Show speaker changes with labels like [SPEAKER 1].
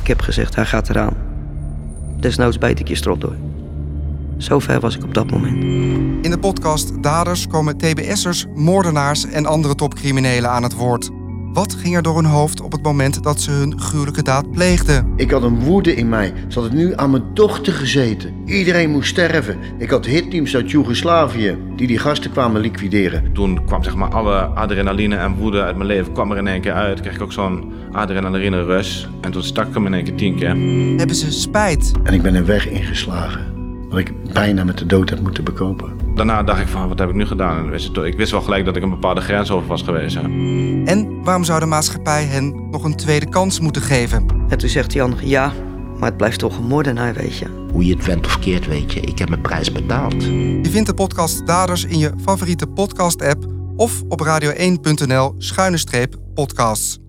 [SPEAKER 1] Ik heb gezegd, hij gaat eraan. Desnoods bijt ik je strot door. Zo ver was ik op dat moment.
[SPEAKER 2] In de podcast Daders komen TBS'ers, moordenaars en andere topcriminelen aan het woord. Wat ging er door hun hoofd op het moment dat ze hun gruwelijke daad pleegden?
[SPEAKER 3] Ik had een woede in mij. Ze had het nu aan mijn dochter gezeten. Iedereen moest sterven. Ik had hitteams uit Joegoslavië die die gasten kwamen liquideren.
[SPEAKER 4] Toen kwam zeg maar alle adrenaline en woede uit mijn leven kwam er in één keer uit. Kreeg ik ook zo'n adrenaline rush. En toen stak ik hem in één keer tien keer.
[SPEAKER 2] Hebben ze spijt?
[SPEAKER 3] En ik ben een weg ingeslagen. Wat ik bijna met de dood had moeten bekopen.
[SPEAKER 4] Daarna dacht ik van, wat heb ik nu gedaan? En wist het- ik wist wel gelijk dat ik een bepaalde grens over was geweest. hè.
[SPEAKER 2] En waarom zou de maatschappij hen nog een tweede kans moeten geven?
[SPEAKER 1] En toen zegt Jan, ja, maar het blijft toch een moordenaar, weet je.
[SPEAKER 5] Hoe je het went of keert, weet je. Ik heb mijn prijs betaald.
[SPEAKER 2] Je vindt de podcast Daders in je favoriete podcast-app of op radio1.nl schuine streep podcasts.